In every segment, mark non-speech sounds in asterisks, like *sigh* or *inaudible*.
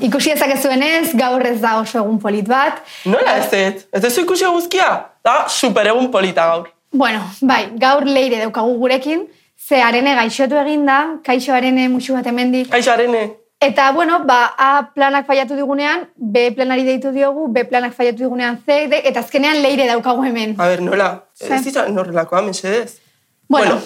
Ikusi ezakezuenez, gaur ez da oso egun polit bat. Nola ez ez? Ez ez ikusi guzkia? Da, super egun polita gaur. Bueno, bai, gaur leire daukagu gurekin, ze arene gaixotu egin da, kaixo arene musu bat hemendik. Kaixo, arene. Eta, bueno, ba, A planak faiatu digunean, B planari deitu diogu, B planak faiatu digunean C, D, eta azkenean leire daukagu hemen. A ber, nola? Ze? Ez izan norrelakoa, mesedez. Bueno.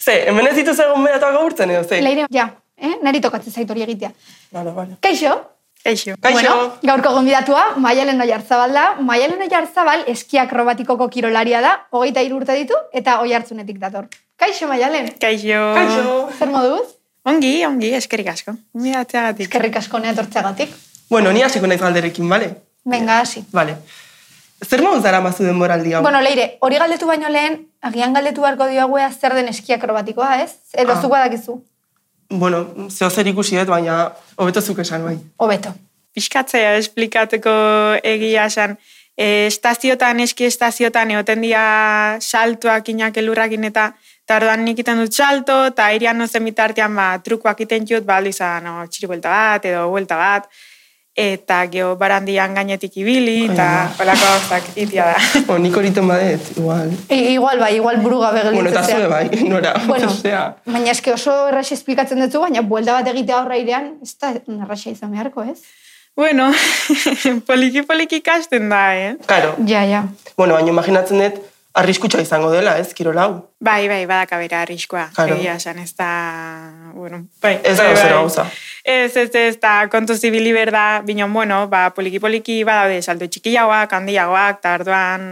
ze, hemen ez dituz egon beratuak gaurtzen edo, ze? Leire, ja, eh? nari tokatzen zait hori egitea. Bale, bale. Kaixo? Eixo. Kaixo. Bueno, gaurko gonbidatua, Maialen Oiarzabal da. Maialen Oiarzabal eski akrobatikoko kirolaria da, hogeita hiru urte ditu, eta oi hartzunetik dator. Kaixo, Maialen? Kaixo. Kaixo. Zer moduz? Ongi, ongi, eskerrik asko. Ongi atzeagatik. Eskerrik asko nea tortzeagatik. Bueno, ni hasiko naiz galderekin, bale? Venga, hasi. Bale. Zer moduz dara mazu denboraldi hau? Bueno, leire, hori galdetu baino lehen, agian galdetu beharko diogu ea zer den eski akrobatikoa, ez? Edo Ah. zuk badakizu. bueno zeo zer ikusi dut, baina hobeto zuk esan bai. Hobeto. Piskatzea esplikateko egia esan. E, estaziotan, eski estaziotan, egoten dira saltoak inak elurrakin eta eta orduan nik iten dut salto, eta airean nozen bitartean ba, trukoak iten jut, ba, aldu izan, no, txiribuelta bat, edo buelta bat, eta geho barandian gainetik ibili, eta Ai, holako gauzak itia da. *laughs* O, nik horiten badet, igual. I, igual bai, igual buru gabe Bueno, eta zue gelditzea. bai, nora. *laughs* Bueno, Osea, baina eski oso erraxe esplikatzen dutzu, baina buelta bat egitea horra irean, ez da erraxe izan beharko, ez? bueno, *laughs* poliki-poliki ikasten da, eh? Claro. Ja, ja. Bueno, baina imaginatzen dut, arriskutsa izango dela, ez, kirol hau. Bai, bai, badaka bera arriskoa. Claro. Egia esan, ez da... Bueno, bai, Ez da bai, gauza, bai. gauza. Ez, ez, ez, da kontu zibili berda, binon, bueno, ba, poliki-poliki badaude saldo txikiagoak, handiagoak, eta arduan...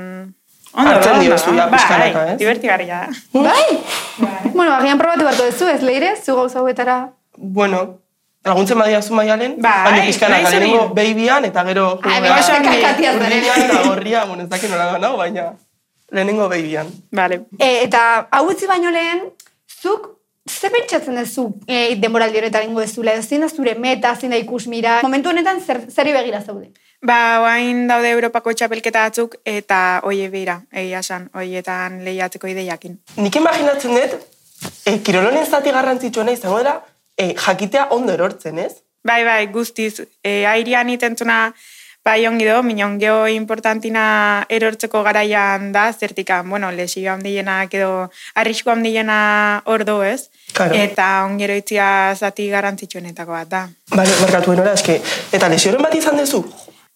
Hartzen ondo, diozu ondo. ja pixkanaka, bai, ez? Divertigarria da. Bai? bueno, agian probatu beharko duzu, ez leire? Zu gauza hauetara... Bueno, laguntzen badia zu maialen, Bai, baina pizkana nahi zuri. lehenengo babyan eta gero... Ai, joera. baina oso ongi. kakatiaz ere. Urrian eta gorria, bueno, ez dakit nola ganau, baina lehenengo babyan. Vale. E, eta hau utzi baino lehen, zuk ze pentsatzen duzu e, denboraldi honetan ingo dezula, edo zein da zure meta, zein da ikusmira, momentu honetan zer, zerri begira zaude. Ba, oain daude Europako txapelketa batzuk, eta oie bera, egia esan, oietan lehiatzeko ideiakin. Nik imaginatzen dut, e, kirolonen zati garrantzitsuena izango dela, e, jakitea ondo erortzen, ez? Bai, bai, guztiz. E, airean itentzuna bai ongi do, minon geho importantina erortzeko garaian da, zertikan, bueno, lesio handienak edo arrisko handiena ordo ez, Claro. eta ongero itzia zati garrantzitsuenetako bat da. Bale, markatu enora, eske, eta lesioren bat izan duzu?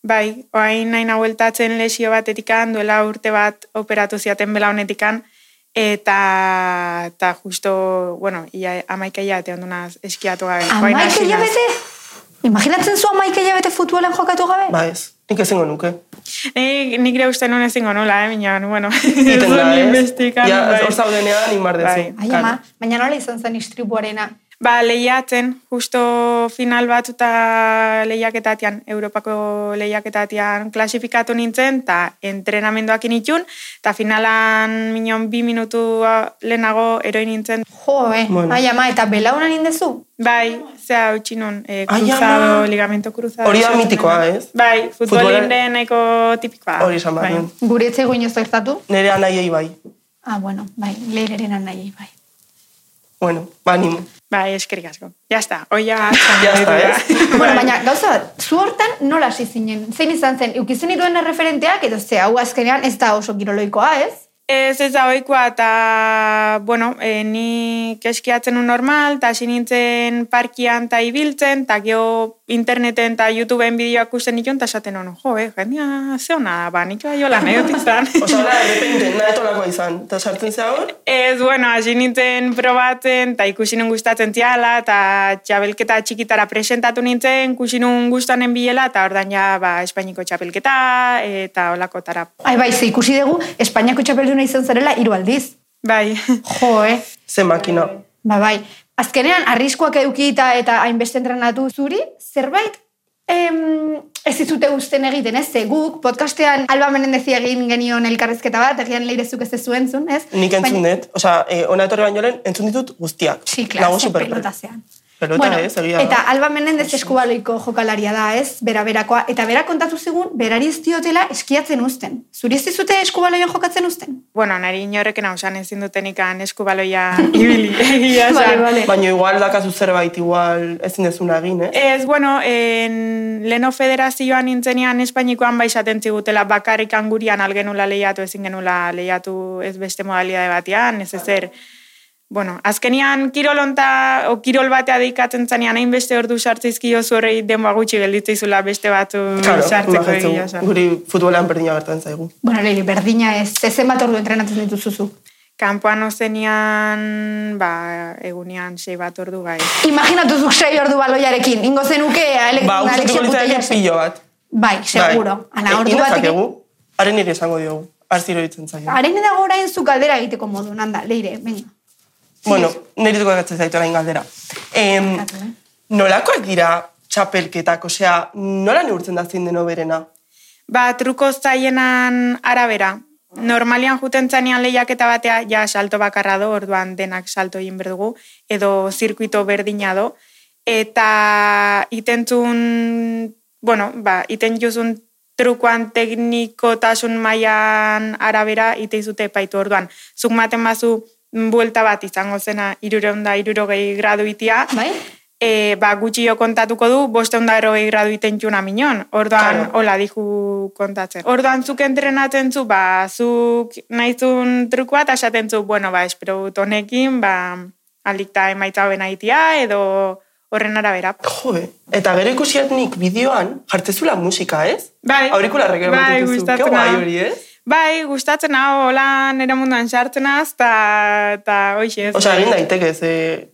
Bai, oain nahi nahueltatzen lesio batetikan, duela urte bat operatu ziaten bela honetikan, eta, eta justo, bueno, ia, amaika hilabete ondunaz eskiatu gabe. Oain Amaik hasi naiz. hilabete? Imaginatzen zu amaik hilabete futbolan jokatu gabe? Ba ez, nik ezingo nuke. Ni, nik ere uste nuen ezingo nola, eh, minan, bueno. *laughs* Egiten Zuen da, ez? investigan, Ja, bai. hor zaudenean, inbar dezu. Bai. Ai, ama, baina nola izan zen istripuarena. Ba, lehiatzen, justo final bat eta lehiaketatian, Europako lehiaketatian klasifikatu nintzen, eta entrenamenduak initun, eta finalan minon bi minutu ah, lehenago eroi nintzen. Jo, eh? Bueno. Ai, ama, eta belauna nindezu? Bai, zea utzi nun, eh, Ai, cruzado, ama. ligamento cruzado. Hori da esaten mitikoa, dena. ez? Bai, futbolin Futbolaren- deneko tipikoa. Hori esan bat Bai. nuen. Gure etxe inoiz gertatu? Nere anaiei bai. Ah, bueno, bai, leireren nahi, bai. Bueno, ba, animo. Bai, eskerrik asko. Ya está, oia. *laughs* Ya está, ¿eh? ez? bueno, baina, gauza bat, zu hortan nola hasi zinen? Zein izan zen, eukizen dituen erreferenteak, edo ze, hau azkenean ez da oso kiroloikoa, ez? Ez ez da ohikoa eta, bueno, e, ni keskiatzen un normal, eta hasi nintzen parkian eta ibiltzen, eta geho interneten eta YouTubeen bideoak ikusten nituen, eta esaten hono, jo, eh, jendea, ze hona, da, ba, nik bai hola nahi dut izan. Osa, hola, errepente, nahi tolakoa izan. Eta sartzen zea hor? Ez, bueno, hasi nintzen probatzen, eta ikusi nun gustatzen ziala, eta txabelketa txikitara presentatu nintzen, ikusi nun gustanen bilela, eta ordan ja, ba, Espainiko txabelketa, eta olakotara. Ai, bai, ze ikusi dugu, Espainiako txapelduna izan zarela hiru aldiz. Bai. Jo, eh? Ze makina. Ba, bai. Azkenean, arriskuak edukita eta hainbeste entrenatu zuri, zerbait em, ez dizute uzten egiten, ez? Ze guk, podcastean Alba Menendezi egin genion elkarrezketa bat, egian leirezuk ez zuen zuen, ez? eh? Nik entzun dut. Osa, eh, ona etorri baino lehen, entzun ditut guztiak. Sí, claro, Nago ze superpen. pelota zean. Pelota ez, egia da. eta Alba Menendez eskubaloiko jokalaria da, ez? Bera berakoa. Eta bera kontatu zigun, berari ez diotela eskiatzen uzten. Zuri ez dizute eskubaloian jokatzen uzten? Bueno, nari inorreken hausan ezin dutenikan eskubaloia *laughs* ibili. Egia Bale, esan. bale. Baina igual dakazu zerbait, igual ezin dezuna egin, eh? Ez, bueno, en, leno federazioan nintzenean Espainikoan baizaten zigutela bakarrik angurian algenula lehiatu, ezin genula lehiatu ez beste modalidade batean, ez ezer. Bueno, azkenian kirolonta, o kirol batea deikatzen zanean, hainbeste ordu sartzizkio horrei denboa gutxi gelditzeizula beste batzu Claro, sartzeko imajinatzen, egia esan. guri futbolean berdina gertan zaigu. Bueno, Leili, berdina ez, ez zenbat ordu entrenatzen dituzuzu. Kampoan ozenean, ba, egunean sei bat ordu bai. Imaginatu zuk sei ordu baloiarekin, ingo zenuke ele- Ba, Alexia gustatuko litzaieke Putellas. pilo bat. Bai, seguro. Ala, ordu batek. batekin. Haren nire esango diogu, arziro ditzen zaio. Haren dago orain zu galdera egiteko modu, nanda, leire, venga. Bueno, nire duko gatzen zaitu orain galdera. Em, Barkatu, eh? nolakoak dira txapelketak, osea, nola neurtzen da zein deno berena? Ba, truko zaienan arabera. Normalian juten zanean lehiaketa batea, ja salto bakarra do, orduan denak salto egin berdugu, edo zirkuito berdina do. Eta itentzun, bueno, ba, iten juzun trukoan teknikotasun mailan arabera iteizute epaitu orduan. Zuk maten bazu mm, buelta bat izango zena irureunda irurogei gradu itia, Bai? e, ba, gutxi jo kontatuko du, bosteun da erogei gradu iten txuna minon. Orduan, Claro. hola, dihu kontatzen. Orduan, zuk entrenatzen zu, ba, zuk nahizun trukua, eta esaten zu, bueno, ba, espero dut honekin, ba, alikta emaitza hobena itia, edo horren arabera. Jode, eta gero ikusiat nik bideoan jartzezula musika, ez? Bai. Aurikularrek ere Bai, montituzu. gustatzen Ke guai da. hori, eh? ez? Bai, gustatzen hau, hola, nire munduan sartzen az, eta hoxe ez. Osea, egin daiteke, ze...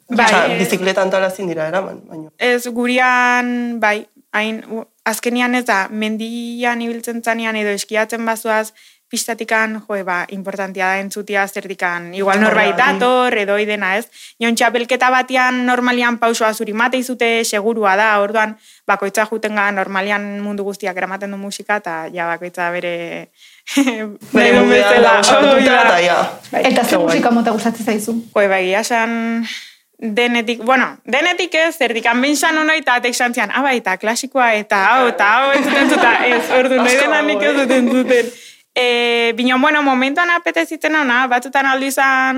Bai, osea, ez. bizikletan tala ezin dira eraman, baina... Ez gurian, bai, hain, u- azkenian ez da, mendian ibiltzen zanean edo eskiatzen bazuaz, pistatikan, joe, ba, importantia da entzutia zertikan, igual norbait Horregatik. dator, edo idena ez. Jon txapelketa batean normalian pausoa zuri mate izute, segurua da, orduan, bakoitza jutenga normalian mundu guztiak eramaten du musika, eta ja bakoitza bere... *laughs* nahi duen munduan Bai, bezala, dago sartuta, hori da. eta ja. Bai. Eta Ke zer guai. musika mota gustatzen zaizu? Joe, ba, egia esan denetik, bueno, denetik ez, erdikan bintzan hona eta atek zantzian, ah, bai, eta klasikoa, eta hau, eta hau, ez dut entzuta, ez, ordu, nahi Asko dena dago, nik ez eh? dut entzuten. E, Bino, bueno, momentuan apetezitzen hona, batzutan aldu izan,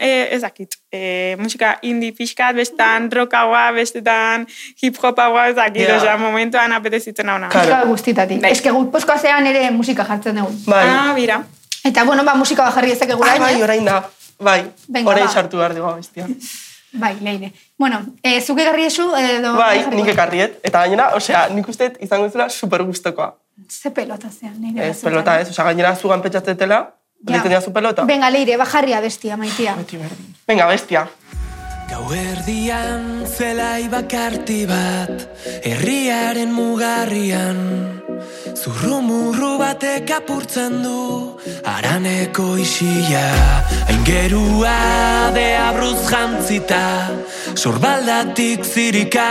e, ez dakit, e, musika indie pixkat, bestan rockagoa, bestetan hip-hopagoa, ez dakit, Ja. osea, momentuan apetezitzen hona. Claro. Musika guztitatik. Bai. Eske guk pozkoa zean ere musika jartzen dugu. Bai. Ah, bira. Eta bueno, ba, musika bat jarri ezak Ah, egurain, bai, bai, orain da. Bai, Venga, orain ba. sartu behar dugu bestia. bai, leire. Bueno, e, zuke garri esu, edo... Bai, jarriko nik dut. ekarriet. Eta gainera, osea, nik uste dut izango zela super gustokoa. Ze pelota zean, leire. Ez, pelota ez. Osea, gainera zugan petzatzetela, deitzen dira zu pelota. Bai. Venga, leire, bajarria bestia, maitia. Beti berdin. Venga, bestia. Gauerdian zelai bakarti bat Herriaren mugarrian Zurrumurru batek apurtzen du Araneko isila Aingerua de abruz jantzita Sorbaldatik zirika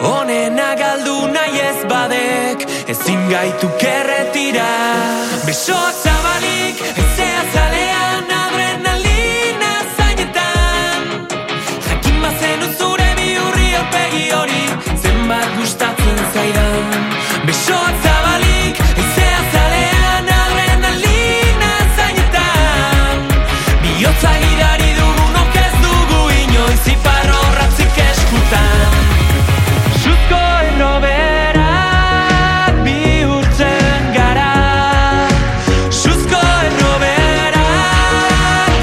Honena galdu nahi ez badek Ezin gaitu kerretira Besoak zabalik Ezea zalean Adrenalina zainetan Jakin bazen zure biurri aurpegi hori Zenbat gustatzen zaidan Besoak zabalik Ezea zalean Adrenalina zainetan Biotza gidari dugunok ez dugu inoiz Iparro ratzik eskutan Zuzko erroberak bihurtzen gara Zuzko erroberak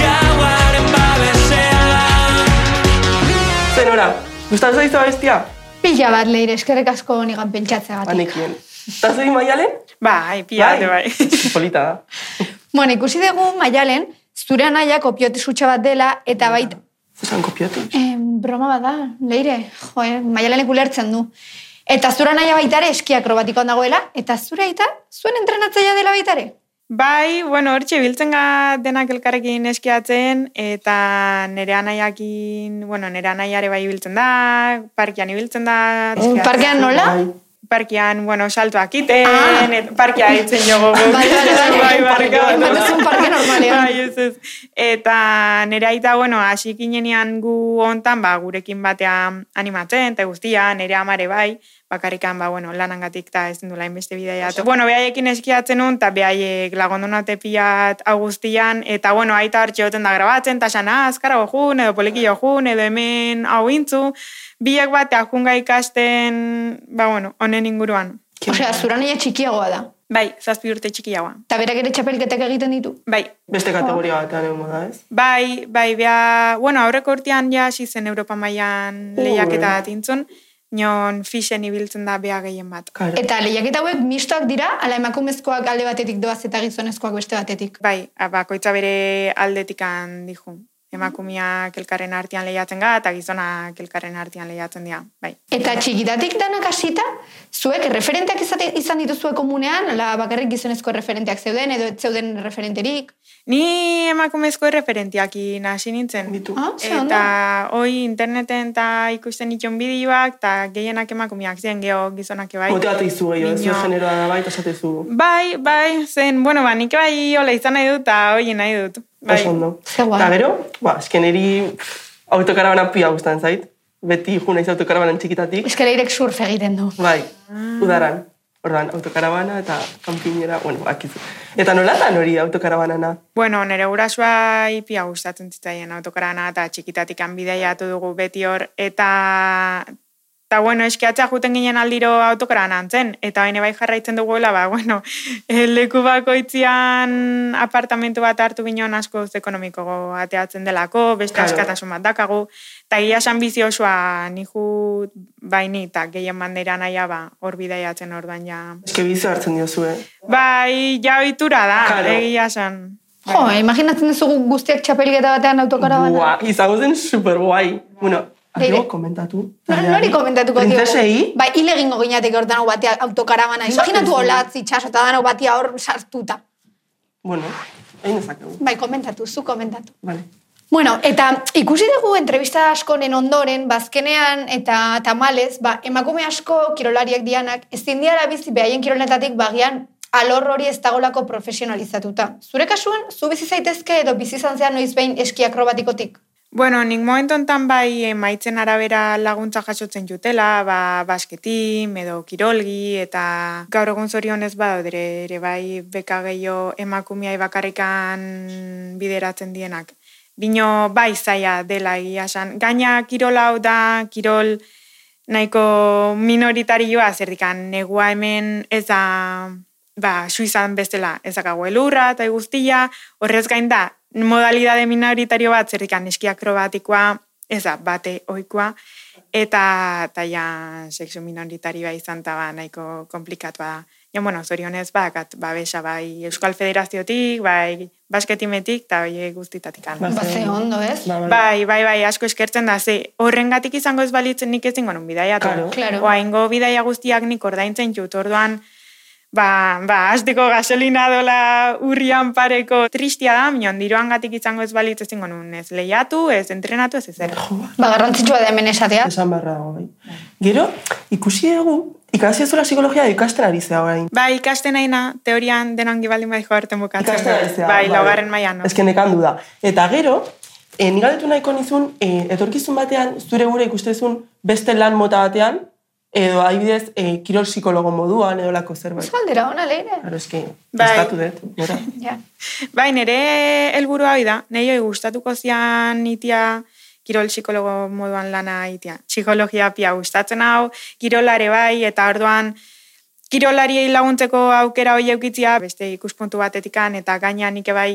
gauaren babesean Zenora, gustatzen zaizu bestia? Ba, Pila bat, leire, eskerrek asko nigan pentsatzeagatik. Banekien. Eta zein maialen? Bai, pillate, bai. *laughs* Polita da. Bueno, ikusi dugu, maialen, zure anaia kopiotizutxa bat dela, eta baita... Zesan kopiatu. Eh, broma bat da, leire, jo, eh, maialenek ulertzen du. Eta zure anaia baitare eski akrobatikoan dagoela, eta zure aita zuen entrenatzailea dela baitare. Bai, bueno, hortxe biltzen ga denak elkarrekin eskiatzen, eta nire anaiakin, bueno, nire anaiare bai biltzen da, parkian ibiltzen da. eskiatzen. Mm, Parkean Ah, nola? Bai. Parkean, bueno, saltoak iten, Ah. et- parkea ditzen jogo. Bai, bai, bai. bai, Ematen zuen parke normalean. Bai, ez, ez. Eta nire aita, bueno, hasi ginenean gu hontan, ba, gurekin batean animatzen, eta guztia, nire amare bai, bakarrikan, ba, bueno, lanangatik eta ez dula inbeste bidea. Bueno, behaiekin eskiatzen nun, eta behaiek lagondona tepiat augustian, eta bueno, aita hartxe hoten da grabatzen, eta xana, azkara jun, edo poliki jun, edo hemen hau intzu, biak bat, ajunga ikasten, ba, bueno, honen inguruan. Osea, zuranaia txikiagoa da. Bai, zazpi urte txikiagoa. Eta berak ere txapelketak egiten ditu. Bai, Beste kategoria batean egon da, ez? Bai, bai, bea, bueno, aurreko urtean ja hasi zen Europa mailan Oh, lehiaketa eh. bat intzun, nion fixen ibiltzen da bea gehien bat. Karo. Eta Bai. lehiaketa hauek mistoak dira, ala emakumezkoak alde batetik doaz eta gizonezkoak beste batetik. Bai, a, bakoitza bere aldetikan dihu. Emakumeak elkarren artean lehiatzen ga, eta gizonak elkarren artean lehiatzen dira. Bai. Eta txikitatik danak hasita, zuek referenteak izate, izan dituzue komunean, ala bakarrik gizonezko referenteak zeuden, edo ez zeuden referenterik. Ni emakumezko erreferentiakin hasi nintzen. Ditu. Ah, ze ondo. Eta hoi interneten eta ikusten ditun bideoak, eta gehienak emakumeak ziren geho gizonak bai. Motea izu gehiago, ez zuen Miño. generoa da bai, eta esate izu. Bai, bai, zen, bueno, ba, nik bai hola izan nahi dut, eta hoi nahi dut. Bai. Oso ondo. Ze guai. Eta gero, ba, esken eri autokarabana pia gustatzen zait. Beti juna naiz autokarabanan txikitatik. Ez que leirek surf egiten du. Bai, Ah. udaran. Ordan autokarabana eta kanpinera, bueno, akizu. Eta nolatan hori autokarabanana? Bueno, nire gurasua ipia gustatzen zitzaien autokarana eta txikitatik Bai. bidaiatu dugu beti hor, eta... Eta, bueno, eskiatza juten ginen aldiro autokarana antzen, eta haine bai jarraitzen duguela, ba, bueno, *laughs* eh, leku bakoitzian apartamentu bat hartu bineon asko uz ekonomiko ateatzen delako, beste Claro. askatasun bat dakagu, eta gila esan bizi osoa nihu baini, eta gehien bandera naia, ba, hor bidaiatzen orduan ja. Eske bizio hartzen diozu, eh? Bai, ja ohitura da, Claro. egia esan. Bai. Jo, imaginatzen duzu gu guztiak txapelketa batean autokarabana. Buah, izango zen super guai. Bueno, Leire. arribo komentatu. No, nori komentatuko diogu? Printzesei? Bai, hile egingo gineatik hor danau batea autokarabana. Imaginatu Esaten olatz itxaso eta danau batia hor sartuta. Bueno, egin dezakegu. Bai, komentatu, zu komentatu. Vale. Bueno, eta ikusi dugu entrevista askoren ondoren, bazkenean eta tamales, ba, emakume asko kirolariak dianak, ezin diara bizi behaien kirolenetatik bagian alor hori ez dagolako profesionalizatuta. Zure kasuan, zu bizi zaitezke edo bizi izan zean noiz behin eski akrobatikotik. Bueno, nik momentu honetan bai emaitzen arabera laguntza jasotzen jutela, ba, basketin, edo kirolgi, eta gaur egun zorionez badaudere ere bai beka gehiago emakumeai bakarrikan bideratzen dienak. Bino bai zaila dela egia esan. Gaina kirol hau da, kirol nahiko minoritarioa zerdikan negua hemen ez da ba, Suizan bestela ezakago elurra eta guztia, horrez gain da, modalidade minoritario bat zerdikan eski akrobatikoa, ez da, bate ohikoa, eta taia sexu minoritarioa izan eta ba, nahiko komplikatua da. Ja, bueno, zorionez, ba, kat, babesa bai Euskal Federaziotik, bai basketimetik, eta horiek guztitatik. Ba, Ba, ze ze- ondo, ez? Ba, ba. Bai, bai, bai, asko eskertzen da, ze horrengatik izango ez balitzen nik ezingo nun bidaia. Claro. Claro. Oaingo bidaia guztiak nik ordaintzen jut, orduan, ba, ba, azteko gasolina dola urrian pareko tristia da, minon diroan gatik izango ez balitz ezingo nun ez lehiatu, ez entrenatu, ez ezer. Ba, garrantzitsua da hemen esatea. Esan barra dago, bai. Gero, ikusi dugu, ikasi ez psikologia edo ikasten ari zea orain. Ba, ikasten aina, teorian denon gibaldin bai joarten bukatzen. Ikasten ari zea. Bai, laugarren mailan. no? Ez nekan du da. Eta gero, e, nik galdetu nahiko nizun, e, etorkizun batean, zure gure ikustezun beste lan mota batean, edo adibidez, e, kirol psikologo moduan, edo lako zerbait. Oso aldera, ona leire. Claro, eski, Bai. eskatu dut. nora. Ja. Bai, nire helburua hori da, nire hori gustatuko zian itia kirol psikologo moduan lana itia. Psikologia pia gustatzen hau, kirolare bai, eta orduan kirolariei laguntzeko aukera hori eukitzia, beste ikuspuntu batetikan, eta gaina nik bai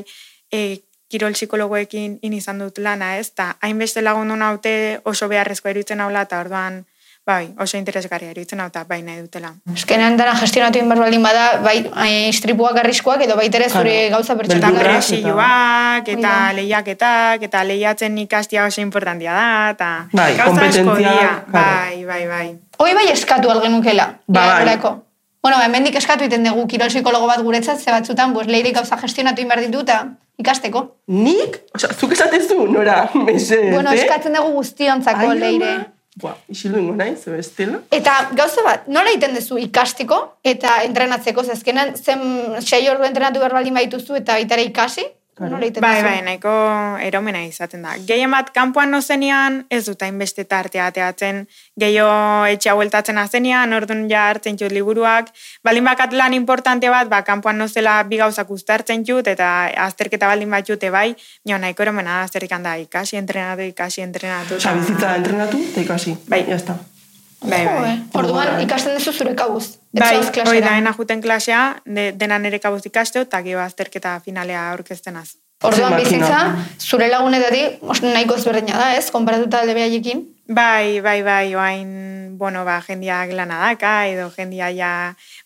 e, kirol psikologoekin in izan dut lana, ez? Ta hainbeste lagundu naute oso beharrezko eruditzen haula, eta orduan bai, oso interesgarria eruditzen hau, eta bai nahi dutela. Eskenean dara gestionatu egin behar baldin bada, bai, eh, istripuak arriskoak edo baita ere zure Claro. gauza Beldurra. pertsonak. Beldurraz, presioak eta- eta lehiaketak eta lehiatzen ikastia oso importantia da eta Bai, gauza asko kompetentzia, dira. claro. Bai, bai, bai. Hoi bai eskatu algenukela. Ba, bai. Ba, Bueno, hemendik eskatu iten dugu kirol psikologo bat guretzat, ze batzutan, pues, leire gauza gestionatu egin behar ditu eta ikasteko. Nik? Osa, zuk esatezu, nora, *laughs* mesedez, Bueno, eh? eskatzen dugu Ai, guztiontzako ama. leire. Buah, isildu ingo naiz, edo estilo. Eta gauza bat, nola egiten duzu ikastiko eta entrenatzeko, zezkenan zen sei ordu entrenatu behar baldin badituzu eta baita ere ikasi, Claro. Nola egiten Bai, duzu? bai, nahiko eromena izaten da. Gehien bat kanpoan nozenean, ez dut hainbeste tartea ateatzen, gehiago etxea bueltatzen azenean, orduan ja hartzen jut liburuak, balin bakat lan importante bat, ba, kanpoan nozela bi gauzak uztartzen jut, eta azterketa baldin bat jute bai, nio nahiko eromena azterkan da, ikasi, entrenatu, ikasi, entrenatu. Osa, bizitza entrenatu eta ikasi. Bai. Ja está. Bai, Jo, bai. eh. Orduan Bai. ikasten duzu zure kabuz. Ez Bai, zoaz klasera. hori da, ena juten klasea, de, dena nire kabuz ikasteu, eta gero azterketa finalea aurkeztenaz. Orduan Zenbaki bizitza, nahi. zure lagunetatik os- nahiko ezberdina da, ez? Konparatuta alde behaiekin. Bai, bai, bai, oain, bueno, ba, jendiak lana daka, edo jendia ja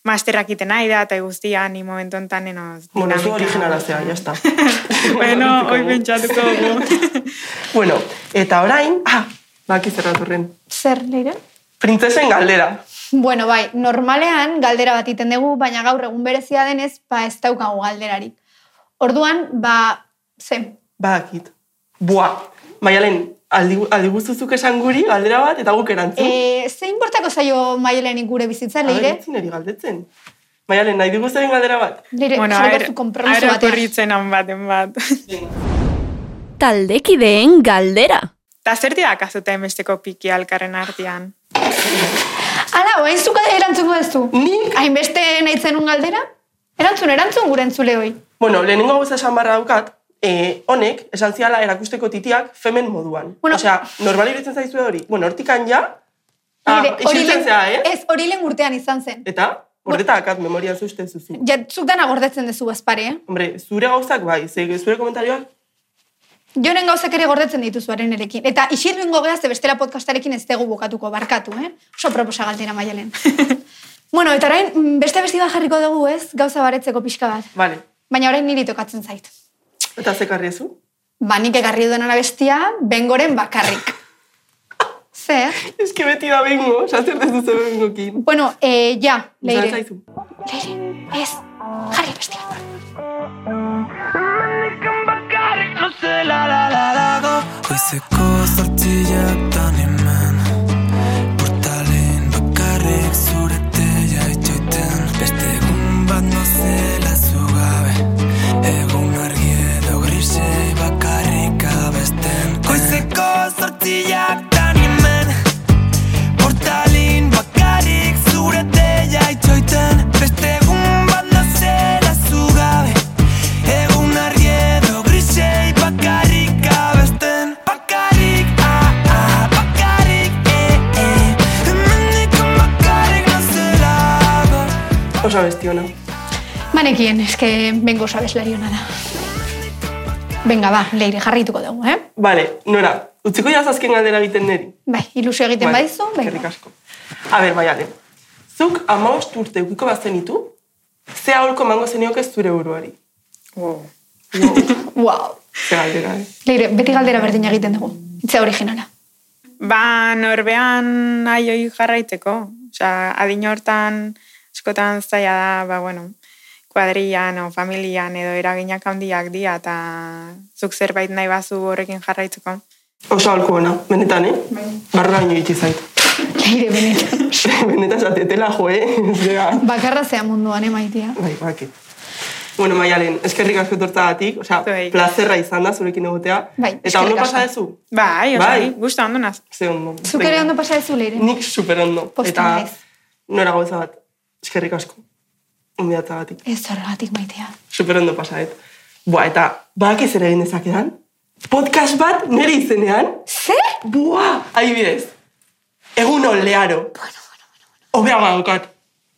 masterrak iten nahi da, eta guztia, ni momentu enten enoz. Bueno, zu dinamika. originala zea, ya está. *laughs* bueno, hoi pentsatuko *laughs* dugu. Bueno, eta orain, ah, baki zer datorren. Zer, leire? Printzesen galdera. Bueno, bai, normalean galdera bat iten dugu, baina gaur egun berezia denez, ba ez daukagu galderarik. Orduan, ba, ze, Badakit. Boa. Maialen, aldi, aldi guztuzuk esan guri galdera bat eta guk erantzun. e, zein bortako zaio maielenik gure bizitza, leire? Aberetzen eri galdetzen. Maialen, nahi dugu zeren galdera bat. Leire, bueno, jarri behar zu konpromiso aero batean. korritzen han baten bat. *laughs* Taldekideen galdera. Eta zer dira kazuta besteko piki alkarren artean? Ala, oain zuka erantzungo duzu. Nik? Hainbeste nahi zenun galdera? Erantzun, erantzun gure entzule hoi. Bueno, lehenengo gauza esan barra daukat, eh, honek, esan ziala erakusteko titiak femen moduan. Bueno. Osea, normal iruditzen zaizue hori. Bueno, hortikan ja, ah, Leire, hori lehen- isiltzen zea, eh? Ez, hori lehen urtean izan zen. Eta, gordeta dakat memorian zuzten zuzu. Ja, zuk dana gordetzen duzu azpare, eh? Hombre, zure gauzak bai, ze zure komentarioak, Jonen gauzak ere gordetzen dituzuaren erekin. Eta isilduingo geha, ze bestela podcastarekin ez dugu bukatuko, barkatu, eh? Oso proposa galtera *laughs* maialen. bueno, eta orain, mm, beste besti bat jarriko dugu, ez? Gauza baretzeko pixka bat. bale. Baina orain niri tokatzen zait. Eta zekarri ezu? Ba, nik egarri dudan bestia, bengoren bakarrik. *laughs* Zer? Ez que beti da bengo, esatzen ez duzu bengokin. Bueno, eh, ja, Leire. leire. Leire, ez, jarri bestia. Goizeko zortziak dan eman Portalen bakarrik zure teia itxoiten Beste egun bat nozela zugabe Egun argi edo grisei bakarrik abesten Goizeko zortziak dan eman Portalin bakarrik zure teia itxoiten Beste egun bat nazela zugabe Egun argi edo grisei bakarrik abesten Bakarrik, ah, ah, bakarrik, eh, eh Hemendik bakarrik nazela Osa besti ona. Banekien, eske bengo sabeslari hona da. Venga, ba, leire, jarrituko dugu, eh? Bale, nora, utziko jazazken galdera egiten neri. Bai, ilusio egiten Bai, badizu, Eskerrik bai. asko. A ber, Maialen, zuk amabost urte ukiko bazenitu, ze aholko emango zenioke zure buruari. Wow. Wow. Ze galdera, eh? Leire, beti galdera berdina egiten dugu. Itza originala. Ba, norbean aioi jarraitzeko. Osea, adin hortan, askotan zaila da, ba, bueno, kuadrian o familian edo eraginak handiak dira eta zuk zerbait nahi bazu horrekin jarraitzeko. Oso aholko ona, benetan, eh? Barra baino itxi zait. *laughs* Leire, benetan. benetan zatetela, jo, eh? *laughs* Zega. Bakarra zea munduan, eh, maitia. Bai, baki. Bueno, Maialen, eskerrik asko tortagatik, osea, Zuei. plazerra izan da zurekin egotea. Bai, Eta ondo eskerrik asko. pasa dezu? Bai. Bai, bai. guztu ondo naz. Ze ondo. Zuk ere ondo pasa duzu, leire. Nik super ondo. Pozten Eta naiz. nora gauza bat, eskerrik asko. Unbiatzagatik. Ez horregatik maitea. super ondo pasaet. Boa, eta badaki zer egin dezakedan? Podcast bat nire izenean? Ze? Boa, adibidez. Egun on, leharo. Bueno, bueno, bueno. Obea badaukat.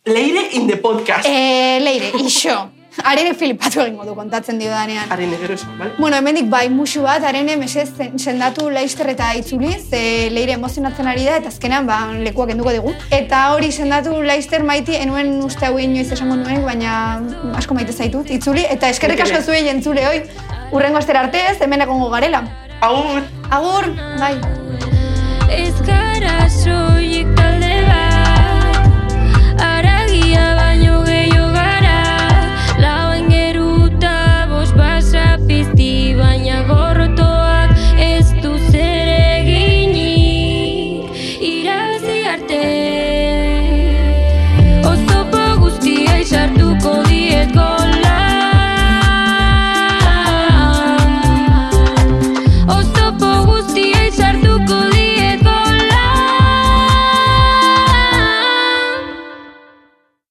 Leire in the podcast. Eh. E, leire, iso. Arene filipatu egingo du kontatzen dio danean. Haren egero esan, bale? Bueno, hemendik bai musu bat, arene mesez sendatu laister eta itzuli, ze leire emozionatzen ari da, eta azkenean ba, lekuak enduko dugu. Eta hori sendatu laister maiti, enuen uste hau inoiz esango nuen, baina asko maite zaitut, itzuli, eta eskerrik asko zuei entzule, hoi, urrengo astera arte ez, hemen egongo garela. Agur! Agur, bai. Ez gara soilik talde bat Aragia baino gehiago gara Lauen geruta bos basa pizti Baina gorrotoak ez du zer eginik Irabazi arte